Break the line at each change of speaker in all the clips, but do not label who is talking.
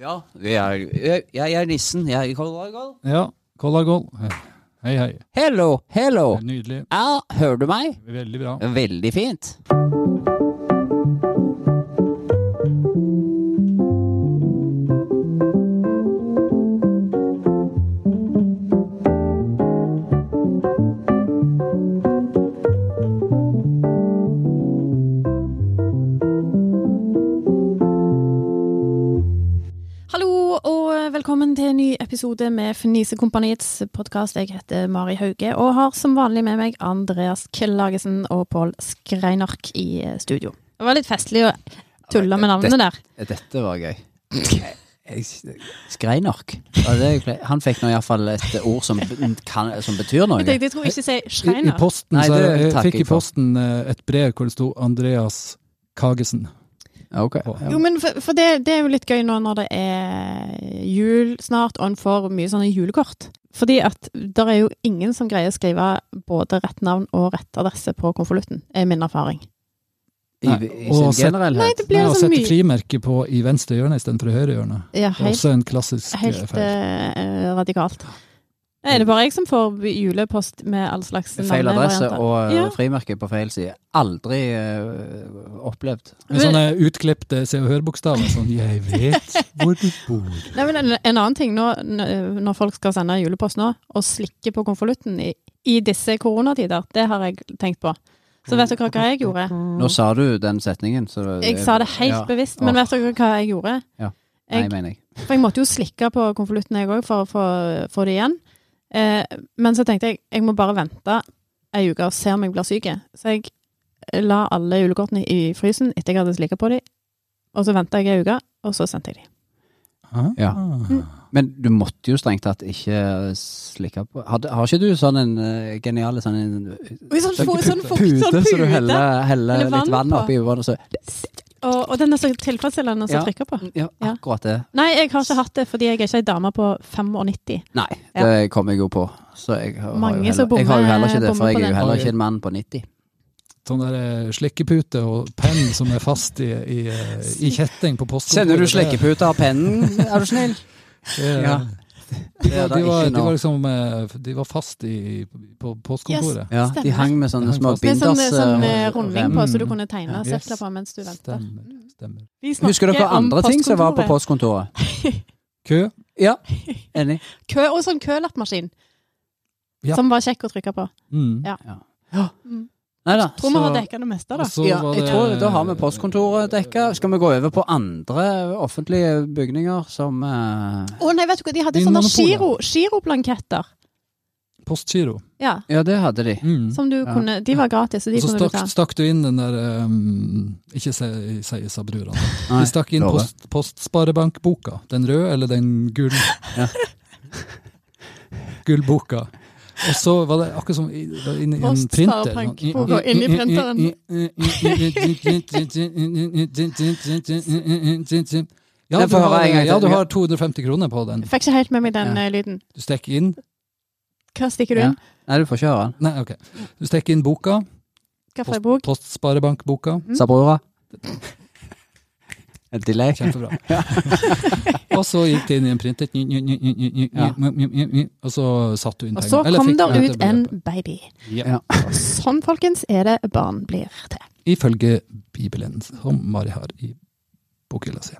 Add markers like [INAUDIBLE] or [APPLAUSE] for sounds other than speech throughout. Ja, jeg, jeg, jeg er nissen. Jeg er Kollargal.
Ja, Color Goal. Hei, hei.
Hello, hello.
Nydelig.
Ja, hører du meg?
Veldig bra.
Veldig fint.
Hallo og velkommen til en ny episode med Fnisekompaniets podkast. Jeg heter Mari Hauge og har som vanlig med meg Andreas Kellagesen og Pål Skreinark i eh, studio. Det var litt festlig å tulle med navnene der.
Dette var gøy. Skreinark. Ja, det er klart. Han fikk nå iallfall et ord som, kan, som betyr noe.
Jeg tenkte jeg tror ikke si
I, i
Schreiner.
posten
Nei,
så
det
jeg, jeg
takker
fikk
jeg
i
for.
posten eh, et brev hvor det sto Andreas Kagesen.
Ok.
Jo, men for, for det, det er jo litt gøy nå når det er jul snart, og en får mye sånne julekort. Fordi at det er jo ingen som greier å skrive både rett navn og rett adresse på konvolutten, er min erfaring.
I, i sin
Og sett-
Nei,
generellhet.
det blir
Nei, å
så
sette
mye
frimerke på i venstre hjørne istedenfor høyre hjørne. Det
Ja,
er
helt
Også en klassisk eh,
Helt
feil.
eh, radikalt. Er det bare jeg som får julepost med all slags
Feil adresse
navnevarianter?
og eh,
Ja.
frimerke på feil side. Aldri eh, opplevd.
Med sånne sånn, eh, utklipte se og hør-bokstaver. Sånn 'Jeg vet hvor du bor'.
[LAUGHS] Nei, men en, en annen ting, nå, n- når folk skal sende julepost nå, og slikke på konvolutten i, i disse koronatider, det har jeg tenkt på. Så vet dere hva jeg gjorde?
Nå sa du den setningen. Så
Mm. Jeg sa det helt
Ja.
bevisst, men
Åh,
vet dere hva jeg gjorde?
Ja. Nei,
Jeg,
mener jeg.
for jeg måtte jo slikke på konvolutten jeg òg for å få få det igjen. Eh, men så tenkte jeg jeg må bare vente ei uke og se om jeg blir syk. Så jeg la alle julekortene i frysen etter jeg hadde slikka på dem. Og så venta jeg ei uke, og så sendte jeg dem.
Ah,
[LAUGHS] Ja.
ah.
Men du måtte jo strengt tatt ikke slikke på Har, har ikke du sånn en eh, genial sånn en
Sånn,
pute, så du heller, heller litt
Eller
vann
vann på.
oppi vannet, så
Og, og den er så tilfredsstillende å
Ja.
trykke på.
Ja,
Ja.
akkurat det.
Nei, jeg har ikke hatt det fordi jeg er ikke ei dame på 95.
Nei,
Ja.
det kom jeg jo på. Så jeg har,
Mange
jo
som
heller, jeg har jo heller ikke det,
bommer-
for jeg
bommer
er
på
jo heller
den.
ikke en mann på 90.
Sånn der eh, slikkepute og penn som er fast i, i, eh, i kjetting på postkontoret.
Sender du
det-
slikkepute av [LAUGHS] pennen, er du snill?
det-
Ja.
De, var,
er da
de,
ikke
var, de
noe.
var liksom eh, De var fast i, på postkontoret.
Ja, de
Stemmer.
hang med
Det
sånne
hang
små
fast.
Med sånn,
binders.
sånn
eh,
eh,
og
runding
rem.
på, så du kunne tegne
Ja, yes.
sirkler på mens du venter.
Stemmer. stemmer.
Vi
Husker dere
snakker om
andre ting som var på
postkontoret.
postkontoret?
Kø.
Ja, enig.
Kø og sånn kølappmaskin.
Ja.
Som var kjekk å trykke på.
Mm.
Ja. Mm.
Nei da.
Tror vi
så-
har dekka det meste, da.
Og så
ja,
var
jeg
det-
tror da har vi postkontoret dekka. Skal vi gå over på andre offentlige bygninger som eh,
Å nei, vet du hva, de hadde
Din
sånne
monopol, ja.
giro, giroblanketter.
Postgiro.
Ja,
Ja, det hadde
[LAUGHS]
de.
Mm.
som du
Ja.
kunne De var gratis, så de
Og så
kunne du
stakk,
ta.
stakk du inn den der ehm, Ikke si si sabrurene.
Nei,
Vi stakk inn
lover.
post, postsparebankboka. Den røde eller den gull?
Ja.
Gullboka. Og så var det akkurat som i- det var inni en printer.
Postsparebankboka inni
printeren. Ja,
Jeg
du
får høre
har,
en gang til.
ja, du har 250 kroner på den.
Fikk ikke helt med meg den
Ja.
eh, lyden.
Du stikker inn
Hva stikker du
Ja.
inn?
Nei, du får ikke høre den.
Nei, ok. Du stikker inn boka.
Hva for
Post,
ei bok?
postsparebankboka.
Sabrura. En delay.
[LAUGHS]
Kjempebra. og så gikk det inn i en printer, ny, ny, ny, ny, ny, ny, ny, ny, ny, og så satt du inn
Og så
Eller
kom
fikk
det
du
ut
dette
en
beløpet.
baby.
ja.
Og sånn, folkens, er det barn blir til.
Ifølge Bibelen, som Mari har i bokhylla si.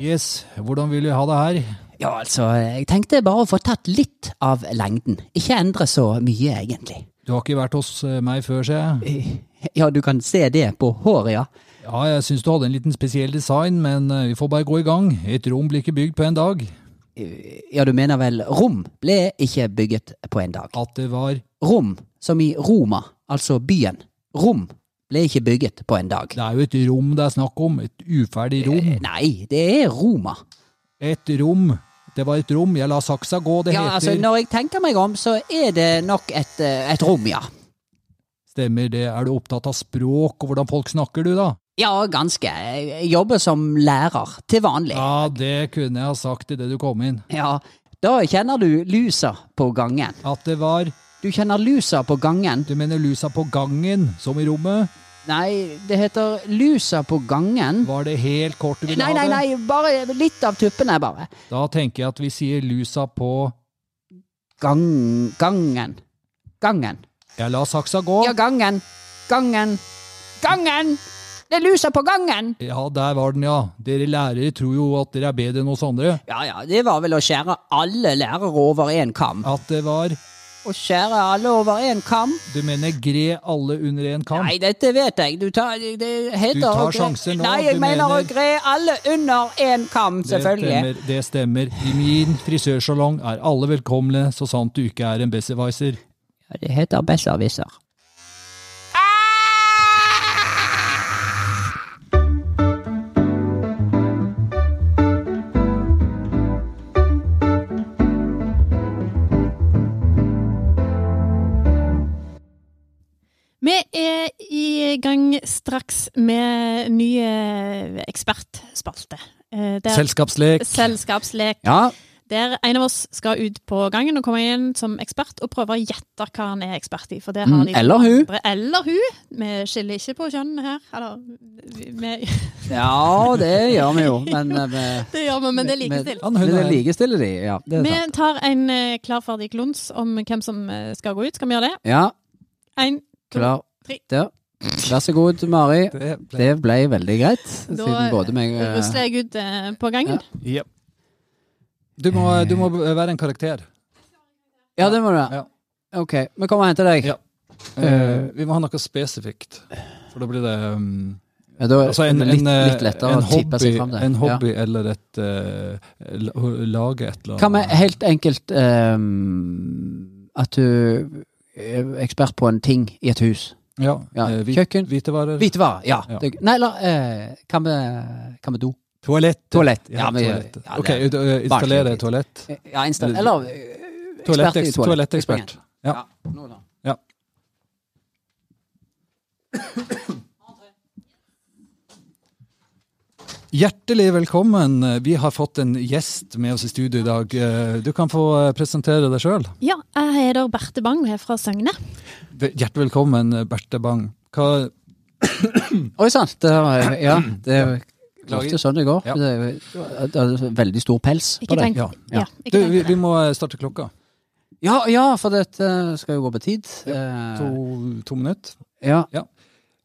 Yes, hvordan vil vi ha det her?
Ja, altså, jeg tenkte bare å få tatt litt av lengden. Ikke endre så mye, egentlig.
Du har ikke vært hos eh, meg før, ser jeg.
Ja, du kan se det på håret, ja.
Ja, jeg syns du hadde en liten spesiell design, men eh, vi får bare gå i gang. Et rom blir ikke bygd på en dag.
Ja, du mener vel rom ble ikke bygget på en dag.
At det var
Rom, som i Roma, altså byen. Rom ble ikke bygget på en dag.
Det er jo et rom det er snakk om. Et uferdig rom.
Eh, Nei, det er Roma.
Et rom. Det var et rom. Jeg la saksa gå, det
Ja, altså,
heter.
når jeg tenker meg om, så er det nok et, eh, et rom, ja.
Stemmer det. Er du opptatt av språk og hvordan folk snakker, du, da?
Ja, ganske. Jeg jobber som lærer til vanlig.
Ja, det kunne jeg ha sagt idet du kom inn.
Ja, Da kjenner du lusa på gangen.
At det var
Du kjenner lusa på gangen.
Du mener lusa på gangen, som i rommet?
Nei, det heter lusa på gangen.
Var det helt kort du ville
Nei,
ha
nei,
det?
nei, bare litt av tuppene, bare.
Da tenker jeg at vi sier lusa på
Gang, gangen. Gangen.
Jeg lar saksa gå.
Ja, gangen. Gangen. Gangen! Det er lusa på gangen!
Ja, der var den, ja. Dere lærere tror jo at dere er bedre enn oss andre.
Ja ja, det var vel å skjære alle lærere over én kam.
At det var
Å skjære alle over én kam?
Du mener gre alle under en kam?
Nei, dette vet jeg. Du tar, det heter
Du tar
å gre-
sjanser nå,
Nei, jeg
du
mener, å
mener-
gre alle under én kam, selvfølgelig.
Det stemmer. det stemmer. I min frisørsalong er alle velkomne, så sant du ikke er en besserwisser.
Ja, det heter besserwisser.
Vi er i gang straks med ny eh, ekspertspalte. Eh, der-
Selskapslek.
Selskapslek.
Ja,
Der en av oss skal ut på gangen og komme inn som ekspert og prøve å gjette hva han er ekspert i. For det har
mm,
de
eller hun.
andre. Eller hun. Vi skiller ikke på kjønn her. Eller, vi, vi, [LAUGHS]
Ja, det gjør vi jo, men
[LAUGHS]
eh, vi-
det gjør vi, men det er
Men-
likestilt.
Han, hun
Men det
er
likestiller de, ja. Det er
Vi
sant.
tar en eh, klar, ferdig glons om hvem som eh, skal gå ut. Skal vi gjøre det?
Ja,
En,
klar.
Tre.
Der. Vær så god, Mari.
Det ble-
Det ble veldig greit, siden både meg eh,
rusler jeg ut eh, på gangen.
Jep. Du, må, du må være en karakter.
Ja, det må du
Ja.
ha. Ok, vi kommer og henter deg.
Ja. Eh, vi må ha noe spesifikt, for da blir det um,
Ja, da er
altså
det
en,
litt,
en, eh,
litt lettere
en
å tippe seg fram
hobby,
til.
en hobby eller et eh, la- Lage et eller
Ja. Kan vi helt enkelt ehm, At du er ekspert på en ting i et hus?
ja,
ja,
eh, hvit-
kjøkken.
Hvitevarer.
Hvitevarer, ja.
Ja.
Det- Nei, eller eh, kan vi, kan vi do?
Toalett.
Toalett.
Ja,
vi-
toalett.
ja, det-
ok, ut- eh, installere
Barslett.
toalett.
Ja, insta- Eller eh,
Toalett-
ekspert i toalett.
Toalettekspert. Ja.
Ja, nå da.
Ja. Hjertelig velkommen. Vi har fått en gjest med oss i studio i dag. Eh, Du kan få eh, presentere deg sjøl.
Ja, jeg heter Berte Bang og er fra Søgne.
Hjertelig velkommen, eh, Berte Bang. Hva,
Oi sant, Det, har- ja, det er jo
Lager-
ofte sånn det går.
Ja.
Det er jo- det er veldig stor pels på
Ikke
deg.
tenk,
Ja,
ja,
ja.
ikke
du,
tenk
vi,
på
vi
det.
må eh, starte klokka.
Ja, ja, for dette skal jo gå på tid. Eh,
To, to minutter.
ja.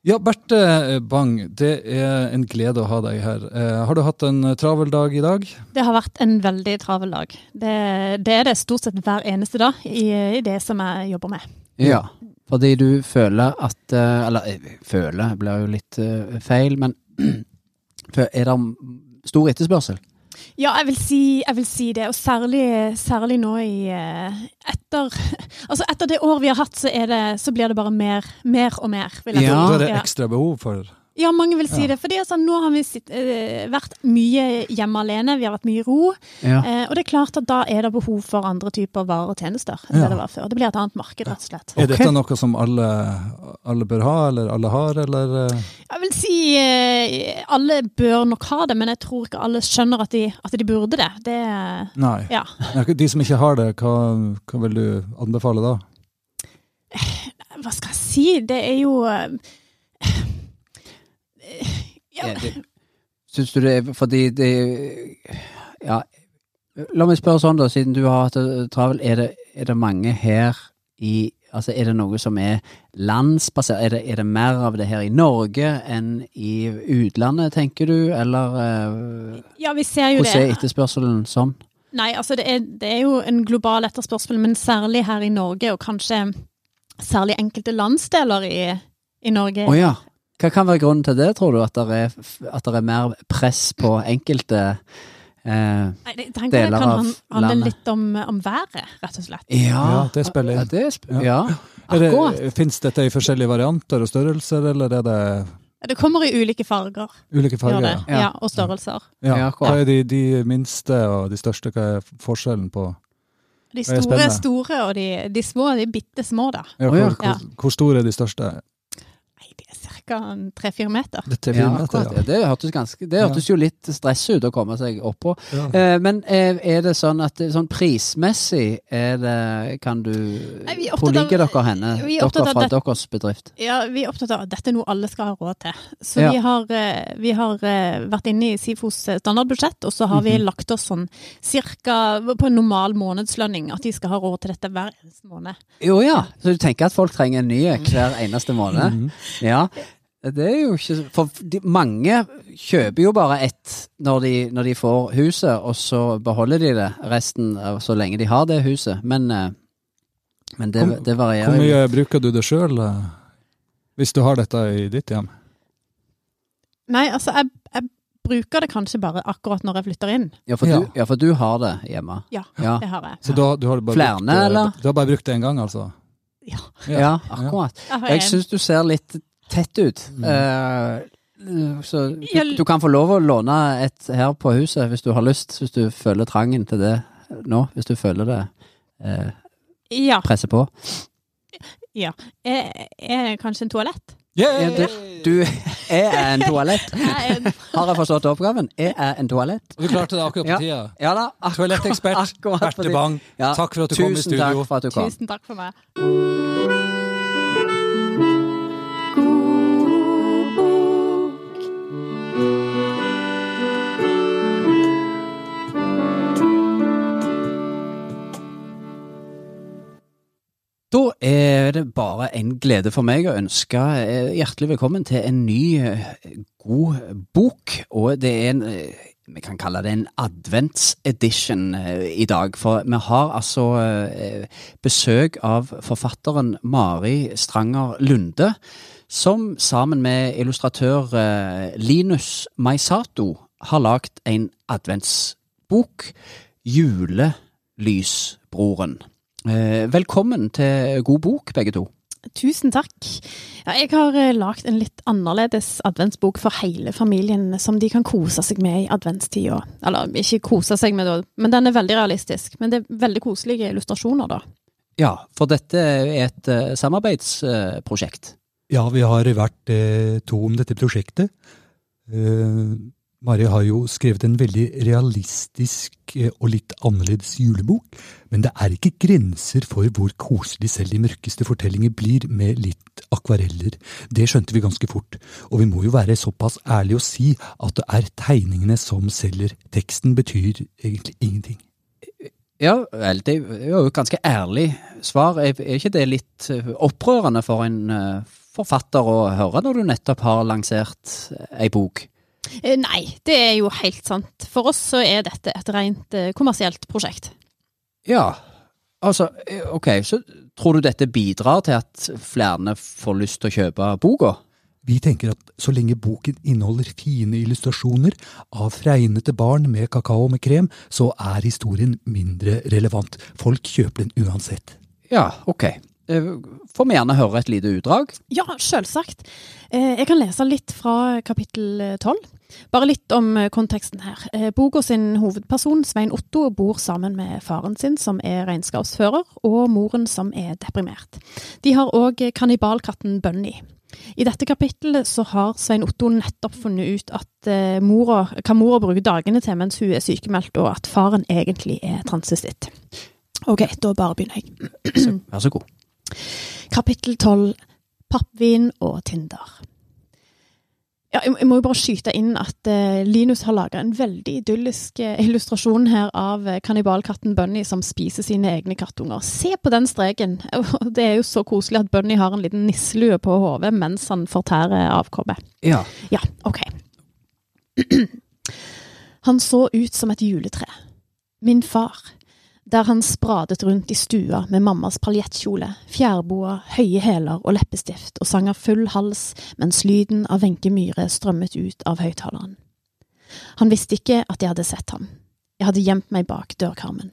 Ja, Berte eh, Bang, det er en glede å ha deg her. Eh, Har du hatt en eh, travel dag i dag?
Det har vært en veldig travel dag. Det, det er det stort sett hver eneste dag i, i det som jeg jobber med.
ja. Fordi du føler at eh, Eller eh, føler blir jo litt eh, feil, men [CLEARS THROAT] for er det stor etterspørsel?
Ja, jeg vil si, jeg vil si det. Og særlig, særlig nå i eh, etter, [LAUGHS] altså etter det året vi har hatt, så, er det, så blir det bare mer, mer og mer. Vil jeg
Ja.
Da
si.
er det
ja.
ekstra behov for
Ja, mange vil si
Ja.
det. For altså, nå har vi sitt, eh, vært mye hjemme alene, vi har vært mye i ro.
Ja.
eh, og det er klart at da er det behov for andre typer varer og tjenester enn
Ja.
det det var før. Det blir et annet marked, rett og slett.
Er
Ok.
dette noe som alle, alle bør ha, eller alle har, eller eh,
Jeg vil si eh, alle bør nok ha det, men jeg tror ikke alle skjønner at de, at de burde det. Det
Nei.
ja.
De som ikke har det, hva, hva vil du anbefale da?
Hva skal jeg si? Det er jo eh, ja,
Er Eh, det- Syns du det er fordi det Ja. La meg spørre sånn, da, siden du har hatt det travel. Er det, er det mange her i Altså, er det noe som er landsbasert? Er det, er det mer av det her i Norge enn i utlandet, tenker du? Eller eh,
ja, vi ser jo
hvordan er
det.
etterspørselen sånn?
Nei, altså det er, det er jo en global etterspørsel, men særlig her i Norge, og kanskje særlig enkelte landsdeler i, i Norge.
Å ja. Hva kan være grunnen til det, tror du? At det er, f- at det er mer press på enkelte eh,
Nei, det, tenker jeg
Deler
kan
av
han- handle
landet.
litt om, om været, rett og slett.
Ja,
det spiller inn.
Ja, det sp
Ja.
ja. akkurat.
Fins dette i forskjellige varianter og størrelser, eller er det
Det kommer i ulike farger,
ulike
gjør det.
farger?
Ja.
Ja. og størrelser.
Ja.
Ja, akkurat.
Hva er de, de minste og de største? Hva er forskjellen på
De
er
store
spennende.
er store, og de, de små de er bitte små, da.
ja,
Å,
hvor,
ja.
Hvor, hvor store er de største?
Nei, de er ca. tre-fire meter.
Dette blir
Ja,
med
akkurat.
dette,
Ja, det hørtes, ganske, det hørtes jo litt stress ut å komme seg oppå.
ja. ja.
Eh, men eh, er det sånn at det- sånn prismessig er det Kan du
Nei, vi er
Hvor
opptatt av-
ligger dere henne?
vi er
Dere
opptatt av
fra
det-
deres bedrift?
Ja, vi er opptatt av at dette er noe alle skal ha råd til. Så
Ja.
vi har, eh, vi har eh, vært inne i Sifos eh, standardbudsjett, og så har
Mhm.
vi lagt oss sånn cirka på en normal månedslønning, at de skal ha råd til dette hver eneste måned.
Jo ja, så du tenker at folk trenger en ny hver eneste måned? Ja. Det er jo ikke For de, mange kjøper jo bare ett når de, når de får huset, og så beholder de det resten av så lenge de har det huset. Men, eh, men det,
Hvor-
det
Hvor
varierer jo.
mye bruker du det sjøl, hvis du har dette i ditt hjem?
Nei, altså, jeg, jeg bruker det kanskje bare akkurat når jeg flytter inn.
Ja, for
Ja.
du, ja, for du har det hjemme.
Ja,
Ja.
det har jeg.
Så da, du har bare
Flere,
brukt, det-
eller?
Du har bare brukt det én gang, altså?
Ja.
Ja, akkurat.
Jeg har
Jeg
en-
syns du ser litt tett ut.
Mm.
Eh, så du,
Jeg-
du kan få lov å låne et her på huset hvis du har lyst, hvis du føler trangen til det nå. Hvis du føler det eh,
ja,
presser på.
jeg, jeg er kanskje en toalett.
Ja,
Yeah!
du, du er en toalett.
Jeg
[LAUGHS]
er en,
Har jeg forstått oppgaven? Jeg er en toalett.
Og du klarte det akkurat på
Ja.
tida.
Ja da. ak-
Toalettekspert
[LAUGHS] akkurat på
Berte
tida.
Bang,
Ja,
takk for at du kom i
Tusen takk
studio.
for at du kom.
tusen takk for meg.
Da er det bare en glede for meg å ønske eh, hjertelig velkommen til en ny eh, god bok. Og det er en eh, Vi kan kalle det en adventsedition eh, i dag. For vi har altså eh, besøk av forfatteren Mari Stranger Lunde. Som sammen med illustratør eh, Linus Maisato har lagd en adventsbok. 'Julelysbroren'. Eh, Velkommen til God bok, begge to.
Tusen takk. Ja, jeg har eh, lagd en litt annerledes adventsbok for hele familien, som de kan kose seg med i adventstida. Eller ikke kose seg med, da, men den er veldig realistisk. Men det er veldig koselige illustrasjoner, da.
Ja, for dette er et eh, samarbeidsprosjekt.
Ja, vi har vært eh, to om dette prosjektet. Eh, Mari har jo skrevet en veldig realistisk eh, og litt annerledes julebok, men det er ikke grenser for hvor koselig selv de mørkeste fortellinger blir med litt akvareller. Det skjønte vi ganske fort, og vi må jo være såpass ærlige å si at det er tegningene som selger. Teksten betyr egentlig ingenting.
Ja vel, det er jo et ganske ærlig svar. Er er ikke det litt eh, opprørende for en eh, forfatter å høre når du nettopp har lansert ei bok?
Eh, Nei, det er jo helt sant. For oss så er dette et rent eh, kommersielt prosjekt.
Ja, altså eh, ok, så tror du dette bidrar til at flere får lyst til å kjøpe boka?
Vi tenker at så lenge boken inneholder fine illustrasjoner av fregnete barn med kakao med krem, så er historien mindre relevant. Folk kjøper den uansett.
Ja, ok. Eh, Får vi gjerne høre et lite utdrag?
Ja, selvsagt. Eh, Jeg kan lese litt fra kapittel eh, tolv. Bare litt om eh, konteksten her. Eh, Boka sin hovedperson, Svein Otto, bor sammen med faren sin, som er regnskapsfører, og moren, som er deprimert. De har òg kannibalkatten Bunny. I dette kapittelet så har Svein Otto nettopp funnet ut at eh, mora, hva mora bruker dagene til mens hun er sykemeldt, og at faren egentlig er transvestitt. Ok, da bare begynner jeg.
Vær så god.
Kapittel 12 Pappvin og Tinder. Ja, jeg må- jeg må jo bare skyte inn at eh, Linus har laga en veldig idyllisk eh, illustrasjon her av eh, kannibalkatten Bunny som spiser sine egne kattunger. Se på den streken! [LAUGHS] Og Det er jo så koselig at Bunny har en liten nisselue på hodet mens han fortærer avkommet.
Ja.
Ja, ok. [CLEARS THROAT] Han så ut som et juletre. Min far. Der han spradet rundt i stua med mammas paljettkjole, fjærboa, høye hæler og leppestift og sang av full hals mens lyden av Wenche Myhre strømmet ut av høyttaleren. Han visste ikke at jeg hadde sett ham. Jeg hadde gjemt meg bak dørkarmen.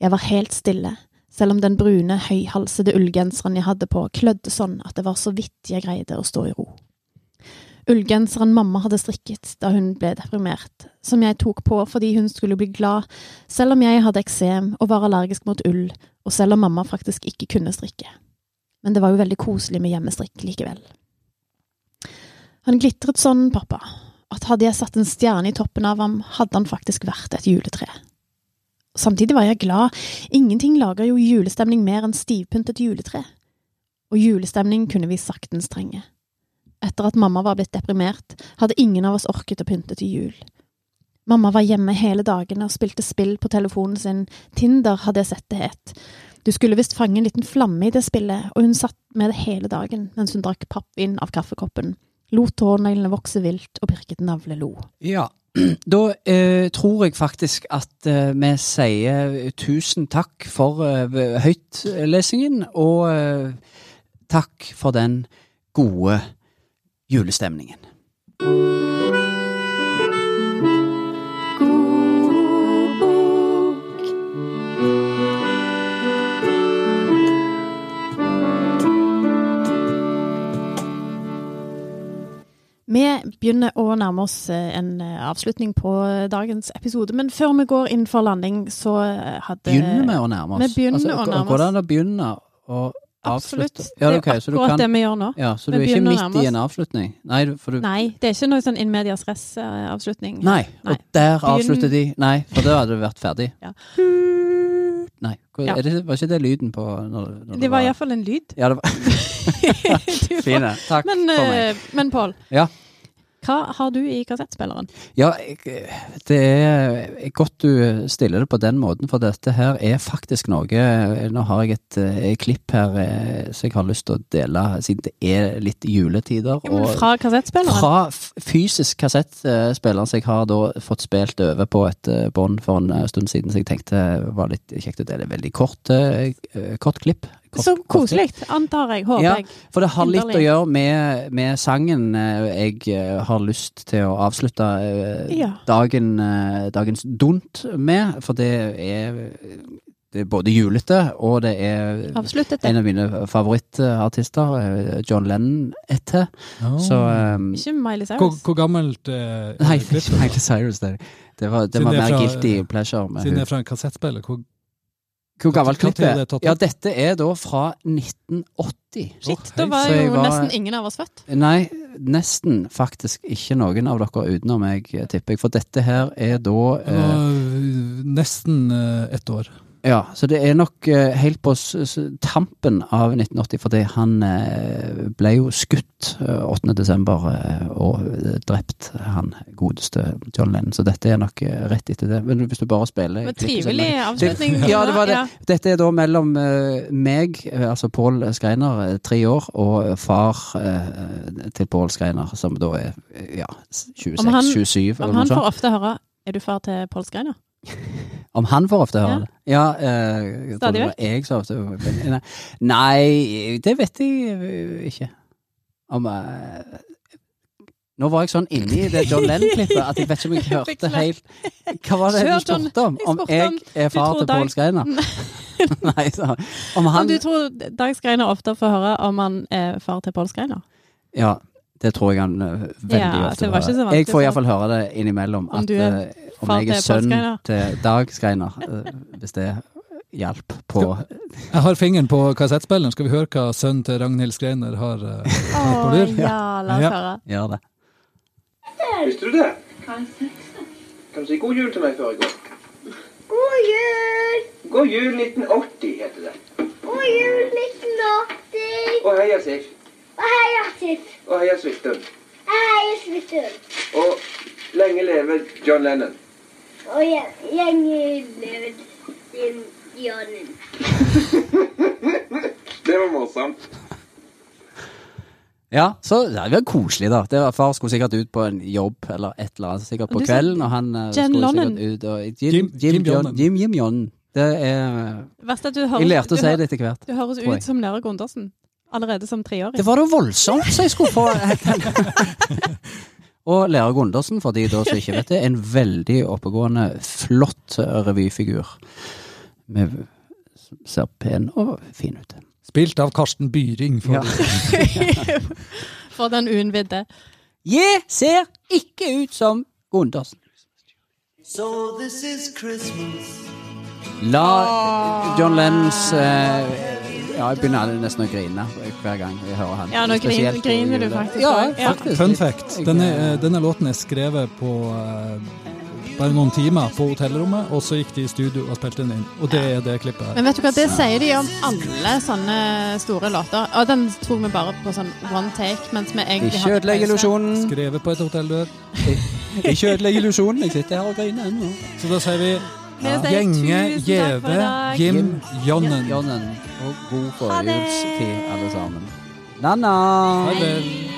Jeg var helt stille, selv om den brune, høyhalsede ullgenseren jeg hadde på, klødde sånn at det var så vidt jeg greide å stå i ro. Ullgenseren mamma hadde strikket da hun ble deprimert, som jeg tok på fordi hun skulle bli glad, selv om jeg hadde eksem og var allergisk mot ull, og selv om mamma faktisk ikke kunne strikke. Men det var jo veldig koselig med hjemmestrikk likevel. Han glitret sånn, pappa, at hadde jeg satt en stjerne i toppen av ham, hadde han faktisk vært et juletre. Samtidig var jeg glad, ingenting lager jo julestemning mer enn stivpyntet juletre. Og julestemning kunne vi saktens trenge. Etter at mamma var blitt deprimert, hadde ingen av oss orket å pynte til jul. Mamma var hjemme hele dagene og spilte spill på telefonen sin, Tinder hadde jeg sett det het. Du skulle visst fange en liten flamme i det spillet, og hun satt med det hele dagen mens hun drakk pappvin av kaffekoppen lot tåneglene vokse vilt og pirket navlelo.
Ja. [CLEARS THROAT] Da eh, tror jeg faktisk at eh, vi sier tusen takk for eh, høytlesingen, og eh, takk for den gode julestemningen.
Vi begynner å nærme oss eh, en eh, avslutning på eh, dagens episode, men før vi går inn for landing, så eh, hadde
Begynner vi å nærme oss? Altså,
vi begynner å nærme
Går det an å begynne å
Absolutt.
avslutte? Ja, ok,
det er
så du
akkurat
kan-
det vi gjør nå.
Ja, så
Vi
du er ikke
begynner å
midt
nærme
i en avslutning? Nei, for du
Nei, det er ikke noe sånn in medias res-avslutning.
Nei,
Nei.
og der
Begynn-
avslutter de. Nei, for da hadde det vært ferdig.
Ja.
Nei, hvor,
Ja.
er det, var ikke det lyden på når, når
Det var iallfall en lyd.
Ja, det var
[LAUGHS] Du får-
fine. Takk
Men,
for meg.
eh, men Pål,
Ja.
hva har du i kassettspilleren?
Ja, jeg- det er godt du stiller det på den måten, for dette her er faktisk noe Nå har jeg et eh, klipp her eh, som jeg har lyst til å dele, siden det er litt juletider.
Jo, men
og-
fra kassettspilleren?
Fra f- fysisk kassettspiller som jeg har da fått spilt over på et eh, bånd for en eh, stund siden, så jeg tenkte var litt kjekt å dele. Veldig kort, eh, eh, kort klipp. Kort,
Så
kort klipp.
koselig, antar jeg. Håper
Ja.
jeg.
For det har litt å
Underlig.
gjøre med, med sangen eh, jeg eh, har lyst til å avslutte eh,
Ja.
dagen, eh, dagens dunt med, for det er, det er både julete og det er
Avsluttet
en
det.
av mine favorittartister, eh, John Lennon, etter.
Ja.
Så eh,
Ikke Miley
hvor,
Cyrus.
hvor gammelt eh,
Nei,
er
det er
klippet?
ikke [LAUGHS] Miley Cyrus. Det, det var, det
Siden
var
det er
mer
fra-
guilty pleasure. Med
Siden det
hun.
er fra en kassettspiller. Hvor,
Hvor gammelt
Når- når
klippet
er det
er?
tatt
Ja,
opp?
dette er da fra 1980.
Shit,
Å,
da
hei,
var
så jeg
jo
var-
nesten ingen av oss født.
Nei, nesten faktisk ikke noen av dere utenom meg, eh, tipper jeg. For dette her er da
det
eh,
var, eh, nesten eh, ett år.
Ja, så det er nok eh, helt på s s tampen av 1980, fordi han eh, ble jo skutt eh, 8. desember eh, og eh, drept, han godeste John Lennon. Så dette er nok eh, rett etter det. Men hvis du bare spiller
Men
klippet selv-
trivelig avslutning.
Det- ja, det var det. Dette er da mellom eh, meg, eh, altså Pål Skreiner, eh, tre år, og eh, far eh, til Pål Skreiner, som da er eh, ja,
Om han-
26-27
Om
eller noe
han får
sånt.
ofte høre 'Er du far til Pål Skreiner?'
Om han får ofte høre
Ja.
det? Ja, eh, jeg tror
Stadig
det var jeg som ofte Nei, Nei, det vet jeg eh, ikke. Om eh, Nå var jeg sånn inni det John Lennon-klippet at jeg vet ikke om
[LAUGHS]
jeg hørte
Beklager.
helt Hva var det du
Kjør, John.
spurte om?
Jeg
Om
spurte om
jeg er far
tror
til
Dag-
Pål Skreiner? [LAUGHS] Nei, så, om
Om
han
du tror Dag Skreiner ofte får høre om han er far til Pål Skreiner?
Ja, det tror jeg han ø, veldig
Ja,
ofte
det var ikke så
hører.
vanskelig
Jeg får
for-
iallfall høre det innimellom.
Om
At,
du er
ø, om
far
jeg er
til Pål
sønn
Skreiner.
til Dag Skreiner, ø, hvis det hjalp på
Jeg har fingeren på kassettspilleren. Skal vi høre hva sønnen til Ragnhild Skreiner har eh,
Å
på lur?
ja, la oss
Ja.
høre.
Gjør det.
Visste du det? Kan du si god jul til meg før jeg går?
God jul!
God jul 1980 heter det.
God jul, 1980!
Og heia Sif.
Og heia Tiff!
Og heia Svithun.
Og heia Svithun!
Og lenge leve John Lennon.
Og gje- gjengen med din Jonnen.
Det var morsomt.
Ja, så ja, det var koselig, da. Det var, far skulle sikkert ut på en jobb eller et eller annet, sikkert
Og
på
du sa
kvelden, og han ø,
Jen
skulle
Lennon.
sikkert ut og Jim Jim,
Jim- Jim
Jon-
Jonnen.
Jim, Jim Jonnen. Det er
Verst at du
Jeg
høres,
lærte
du,
å si
hø-
det etter hvert.
du høres
tror jeg.
ut som Nere Gundersen allerede som
Det
treåring.
var da voldsomt så jeg skulle få
[LAUGHS]
Og Lærer Gundersen, for de da som ikke vet det, er en veldig oppegående, flott revyfigur. Med, som ser pen og fin ut.
Spilt av Karsten Byring. For,
Ja.
For den uinnvidde.
Jeg ser ikke ut som Gundersen.
So this is Christmas.
La John Lennons eh, ja, jeg begynner alle nesten å grine hver gang jeg hører han.
Ja, nå
Spesielt i
griner- griner du
jule-
faktisk
Ja,
også. Ja.
faktisk.
Fun
[LAUGHS]
fact. Denne, eh, denne låten er skrevet på eh, bare noen timer på hotellrommet, og så gikk de i studio og spilte den inn. Og det er det klippet her.
Men vet du hva, det sier de om alle sånne store låter. Og den tok vi bare på sånn one take, mens vi egentlig
Ikke ødelegg illusjonen.
Skrevet på et hotelldør.
Ikke ødelegg illusjonen. Jeg sitter her og griner ennå.
Så da sier vi
Vi sier
Gjenge,
tusen takk for i
Gjeve,
dag.
Jim, Jonnen.
Jonnen, og god
Ha det.
forjulstid, alle sammen. Na-na.
Ha det.